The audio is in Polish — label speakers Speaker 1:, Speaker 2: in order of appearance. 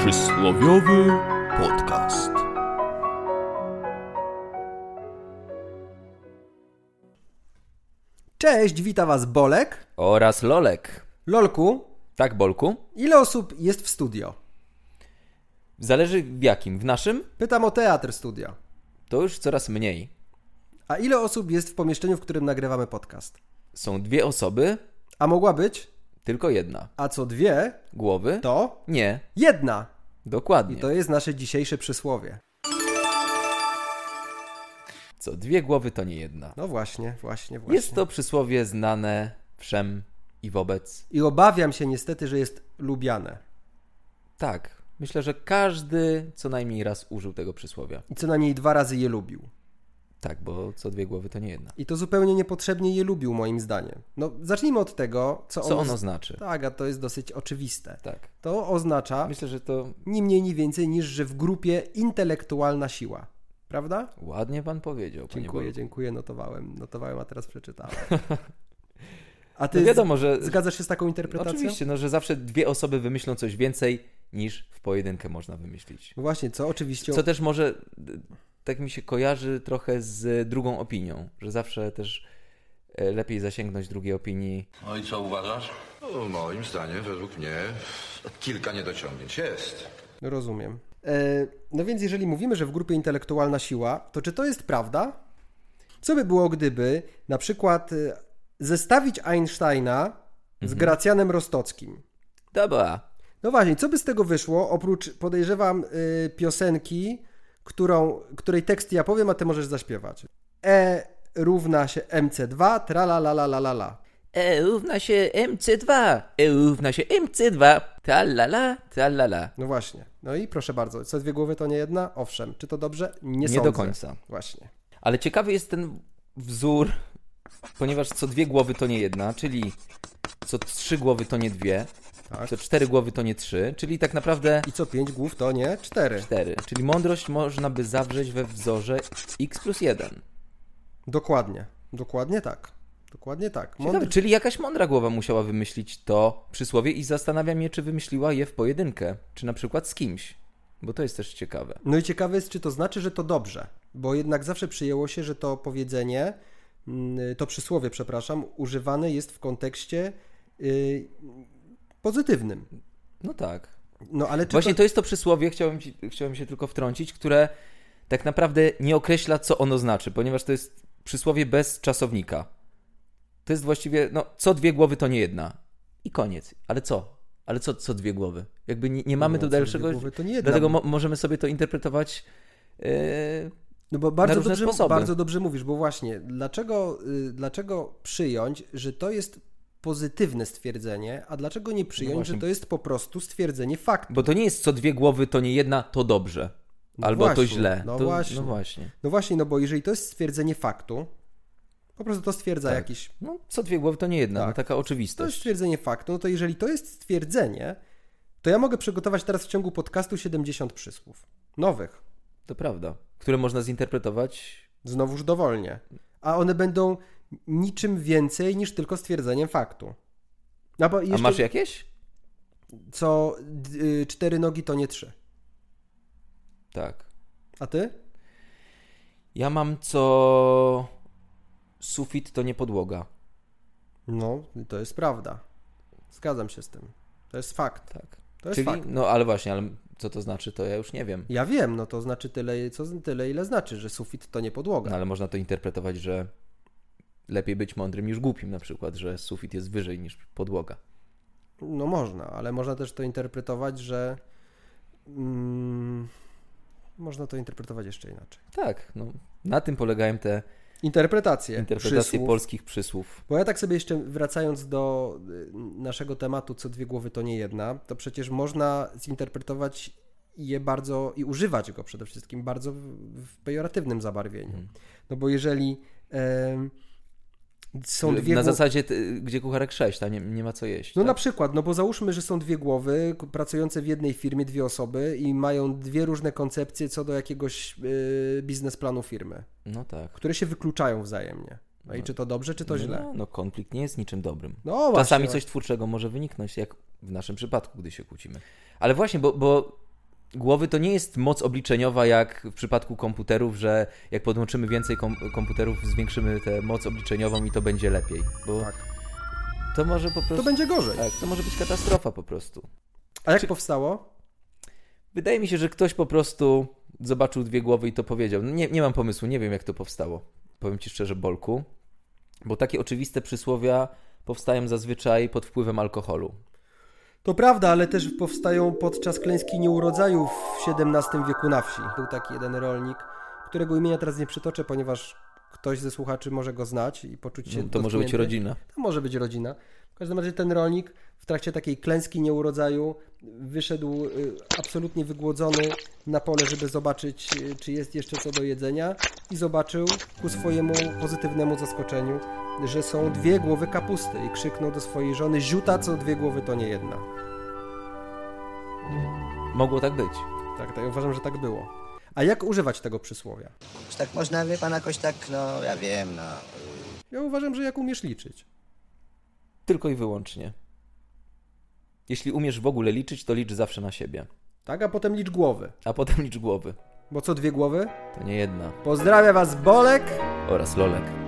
Speaker 1: Przysłowiowy podcast.
Speaker 2: Cześć, wita Was Bolek.
Speaker 3: Oraz Lolek.
Speaker 2: Lolku,
Speaker 3: Tak, Bolku?
Speaker 2: ile osób jest w studio?
Speaker 3: Zależy w jakim. W naszym?
Speaker 2: Pytam o teatr studio.
Speaker 3: To już coraz mniej.
Speaker 2: A ile osób jest w pomieszczeniu, w którym nagrywamy podcast?
Speaker 3: Są dwie osoby,
Speaker 2: A mogła być,
Speaker 3: tylko jedna.
Speaker 2: a co dwie,
Speaker 3: Głowy?
Speaker 2: to
Speaker 3: Nie,
Speaker 2: jedna.
Speaker 3: dokładnie.
Speaker 2: I to jest nasze dzisiejsze przysłowie.
Speaker 3: Co dwie głowy to nie jedna.
Speaker 2: No właśnie, właśnie, właśnie.
Speaker 3: Jest to przysłowie znane wszem i wobec.
Speaker 2: I obawiam się niestety, że jest lubiane.
Speaker 3: Tak, myślę, że każdy co najmniej raz użył tego przysłowia.
Speaker 2: I co najmniej dwa razy je lubił.
Speaker 3: Tak, bo co dwie głowy to nie jedna.
Speaker 2: I to zupełnie niepotrzebnie je lubił, moim zdaniem. No, zacznijmy od tego, co,
Speaker 3: Co ono znaczy?
Speaker 2: Tak, a to jest dosyć oczywiste.
Speaker 3: Tak.
Speaker 2: To oznacza
Speaker 3: Myślę, że to
Speaker 2: ni mniej, ni więcej niż, że w grupie intelektualna siła. Prawda?
Speaker 3: ładnie pan powiedział. panie
Speaker 2: Dziękuję,
Speaker 3: Bolku.
Speaker 2: dziękuję, notowałem. Notowałem, a teraz przeczytałem. A ty
Speaker 3: No wiadomo, że
Speaker 2: z- zgadzasz się z taką interpretacją?
Speaker 3: Oczywiście, no, że zawsze dwie osoby wymyślą coś więcej niż w pojedynkę można wymyślić.
Speaker 2: No Właśnie, co oczywiście...
Speaker 3: Co też może, y, tak mi się kojarzy trochę z drugą opinią, że zawsze też y, lepiej zasięgnąć drugiej opinii.
Speaker 4: No i co uważasz? No, moim zdaniem, według mnie, kilka niedociągnięć jest.
Speaker 2: No Rozumiem. E, no więc jeżeli mówimy, że w grupie intelektualna siła, to czy to jest prawda? Co by było, gdyby na przykład e, zestawić Einsteina
Speaker 3: Mhm.
Speaker 2: z Gracjanem Rostockim?
Speaker 3: Dobra,
Speaker 2: No właśnie, co by z tego wyszło, oprócz, podejrzewam, y, piosenki, którą, której tekst ja powiem, a ty możesz zaśpiewać. E równa się MC2, tra la la la la la la.
Speaker 3: E równa się MC2, E równa się MC2, tralala, tralala.
Speaker 2: No właśnie. No i proszę bardzo, co dwie głowy to nie jedna? Owszem. Czy to dobrze? Nie,
Speaker 3: Nie
Speaker 2: sądzę.
Speaker 3: do końca.
Speaker 2: Właśnie.
Speaker 3: Ale ciekawy jest ten wzór, ponieważ co dwie głowy to nie jedna, czyli co trzy głowy to nie dwie,
Speaker 2: Tak.
Speaker 3: co cztery głowy to nie trzy, czyli tak naprawdę
Speaker 2: I co pięć głów to nie cztery.
Speaker 3: cztery. Czyli mądrość można by zawrzeć we wzorze x plus jeden.
Speaker 2: Dokładnie. Dokładnie tak. Dokładnie tak.
Speaker 3: Ciekawe, czyli jakaś mądra głowa musiała wymyślić to przysłowie i zastanawiam się, czy wymyśliła je w pojedynkę, czy na przykład z kimś, bo to jest też ciekawe.
Speaker 2: No i ciekawe jest, czy to znaczy, że to dobrze, bo jednak zawsze przyjęło się, że to powiedzenie, mm, to przysłowie, przepraszam, używane jest w kontekście y, pozytywnym.
Speaker 3: No tak.
Speaker 2: No ale czy
Speaker 3: Właśnie
Speaker 2: to...
Speaker 3: to jest to przysłowie, chciałem, ci, chciałem się tylko wtrącić, które tak naprawdę nie określa, co ono znaczy, ponieważ to jest przysłowie bez czasownika. To jest właściwie, no, co dwie głowy to nie jedna. I koniec. Ale co? Ale co, co dwie głowy? Jakby nie, nie mamy
Speaker 2: No,
Speaker 3: tu
Speaker 2: co dwie
Speaker 3: dalszego...
Speaker 2: głowy to nie jedna.
Speaker 3: Dlatego mo- możemy sobie to interpretować... Yy,
Speaker 2: No bo bardzo
Speaker 3: różne
Speaker 2: dobrze,
Speaker 3: sposoby.
Speaker 2: bardzo dobrze mówisz, bo właśnie, dlaczego, y, dlaczego przyjąć, że to jest pozytywne stwierdzenie, a dlaczego nie przyjąć, że
Speaker 3: No właśnie.
Speaker 2: to jest po prostu stwierdzenie faktu?
Speaker 3: bo to nie jest co dwie głowy to nie jedna, to dobrze.
Speaker 2: No
Speaker 3: Albo
Speaker 2: właśnie,
Speaker 3: to źle.
Speaker 2: no
Speaker 3: to,
Speaker 2: właśnie.
Speaker 3: No właśnie.
Speaker 2: No właśnie, no bo jeżeli to jest stwierdzenie faktu, po prostu to stwierdza jakiś
Speaker 3: No, co dwie głowy to nie jedna.
Speaker 2: Tak.
Speaker 3: No, taka
Speaker 2: To jest
Speaker 3: oczywistość.
Speaker 2: stwierdzenie faktu, no to jeżeli to jest stwierdzenie, to ja mogę przygotować teraz w ciągu podcastu 70 przysłów. Nowych.
Speaker 3: To prawda. Które można zinterpretować
Speaker 2: Znowuż dowolnie. A one będą niczym więcej niż tylko stwierdzeniem faktu. No bo jeszcze
Speaker 3: A masz jakieś?
Speaker 2: co d- y, cztery nogi to nie trzy.
Speaker 3: Tak.
Speaker 2: A ty?
Speaker 3: Ja mam co. Sufit to nie podłoga.
Speaker 2: No, to jest prawda. Zgadzam się z tym. To jest fakt.
Speaker 3: Tak.
Speaker 2: To jest
Speaker 3: Czyli,
Speaker 2: fakt.
Speaker 3: no ale właśnie, ale co to znaczy, to ja już nie wiem.
Speaker 2: Ja wiem, no to znaczy tyle, co, tyle ile znaczy, że sufit to nie podłoga.
Speaker 3: No, ale można to interpretować, że lepiej być mądrym niż głupim, na przykład, że sufit jest wyżej niż podłoga.
Speaker 2: No można, ale można też to interpretować, że. Mm, można to interpretować jeszcze inaczej.
Speaker 3: Tak, no na tym polegają te
Speaker 2: Interpretacje.
Speaker 3: interpretacje
Speaker 2: E, przysłów.
Speaker 3: polskich przysłów.
Speaker 2: Bo ja tak sobie jeszcze wracając do y, naszego tematu, co dwie głowy to nie jedna, to przecież można zinterpretować je bardzo i używać go przede wszystkim bardzo w, w pejoratywnym zabarwieniu.
Speaker 3: Hmm.
Speaker 2: No bo jeżeli em, są dwie
Speaker 3: na
Speaker 2: głowy.
Speaker 3: zasadzie, ty- gdzie kucharek 6, tam nie, nie ma co jeść.
Speaker 2: No
Speaker 3: tak?
Speaker 2: na przykład, no bo załóżmy, że są dwie głowy k- pracujące w jednej firmie, dwie osoby i mają dwie różne koncepcje co do jakiegoś yy, biznesplanu firmy,
Speaker 3: no tak.
Speaker 2: które się wykluczają wzajemnie. No, i czy to dobrze, czy to źle?
Speaker 3: No, no konflikt nie jest niczym dobrym.
Speaker 2: No właśnie.
Speaker 3: Czasami coś twórczego może wyniknąć, jak w naszym przypadku, gdy się kłócimy. Ale właśnie, bo, bo głowy to nie jest moc obliczeniowa jak w przypadku komputerów, że jak podłączymy więcej kom- komputerów, zwiększymy tę moc obliczeniową i to będzie lepiej. Bo
Speaker 2: Tak.
Speaker 3: to może po prostu.
Speaker 2: To będzie gorzej.
Speaker 3: Tak, to może być katastrofa po prostu.
Speaker 2: A jak powstało?
Speaker 3: Wydaje mi się, że ktoś po prostu zobaczył dwie głowy i to powiedział. No Nie, nie mam pomysłu, nie wiem jak to powstało. Powiem ci szczerze, Bolku. Bo takie oczywiste przysłowia powstają zazwyczaj pod wpływem alkoholu.
Speaker 2: To prawda, ale też powstają podczas klęski nieurodzaju w XVII wieku na wsi. Był taki jeden rolnik, którego imienia teraz nie przytoczę, ponieważ ktoś ze słuchaczy może go znać i poczuć się.
Speaker 3: No, to może być
Speaker 2: dotknięty.
Speaker 3: rodzina.
Speaker 2: To może być rodzina. W każdym razie ten rolnik w trakcie takiej klęski nieurodzaju wyszedł y, absolutnie wygłodzony na pole, żeby zobaczyć, y, czy jest jeszcze co do jedzenia i zobaczył ku swojemu pozytywnemu zaskoczeniu, że są dwie głowy kapusty i krzyknął do swojej żony, ziuta co dwie głowy to nie jedna.
Speaker 3: Mogło tak być.
Speaker 2: Tak, tak, uważam, że tak było. A jak używać tego przysłowia?
Speaker 1: Czy tak można, wie pan, jakoś tak, no, ja wiem, no.
Speaker 2: Ja uważam, że jak umiesz liczyć.
Speaker 3: Tylko i wyłącznie. Jeśli umiesz w ogóle liczyć, to licz zawsze na siebie.
Speaker 2: Tak, a potem licz głowy.
Speaker 3: A potem licz głowy.
Speaker 2: Bo co dwie głowy?
Speaker 3: To nie jedna.
Speaker 2: Pozdrawia Was Bolek!
Speaker 3: Oraz lolek.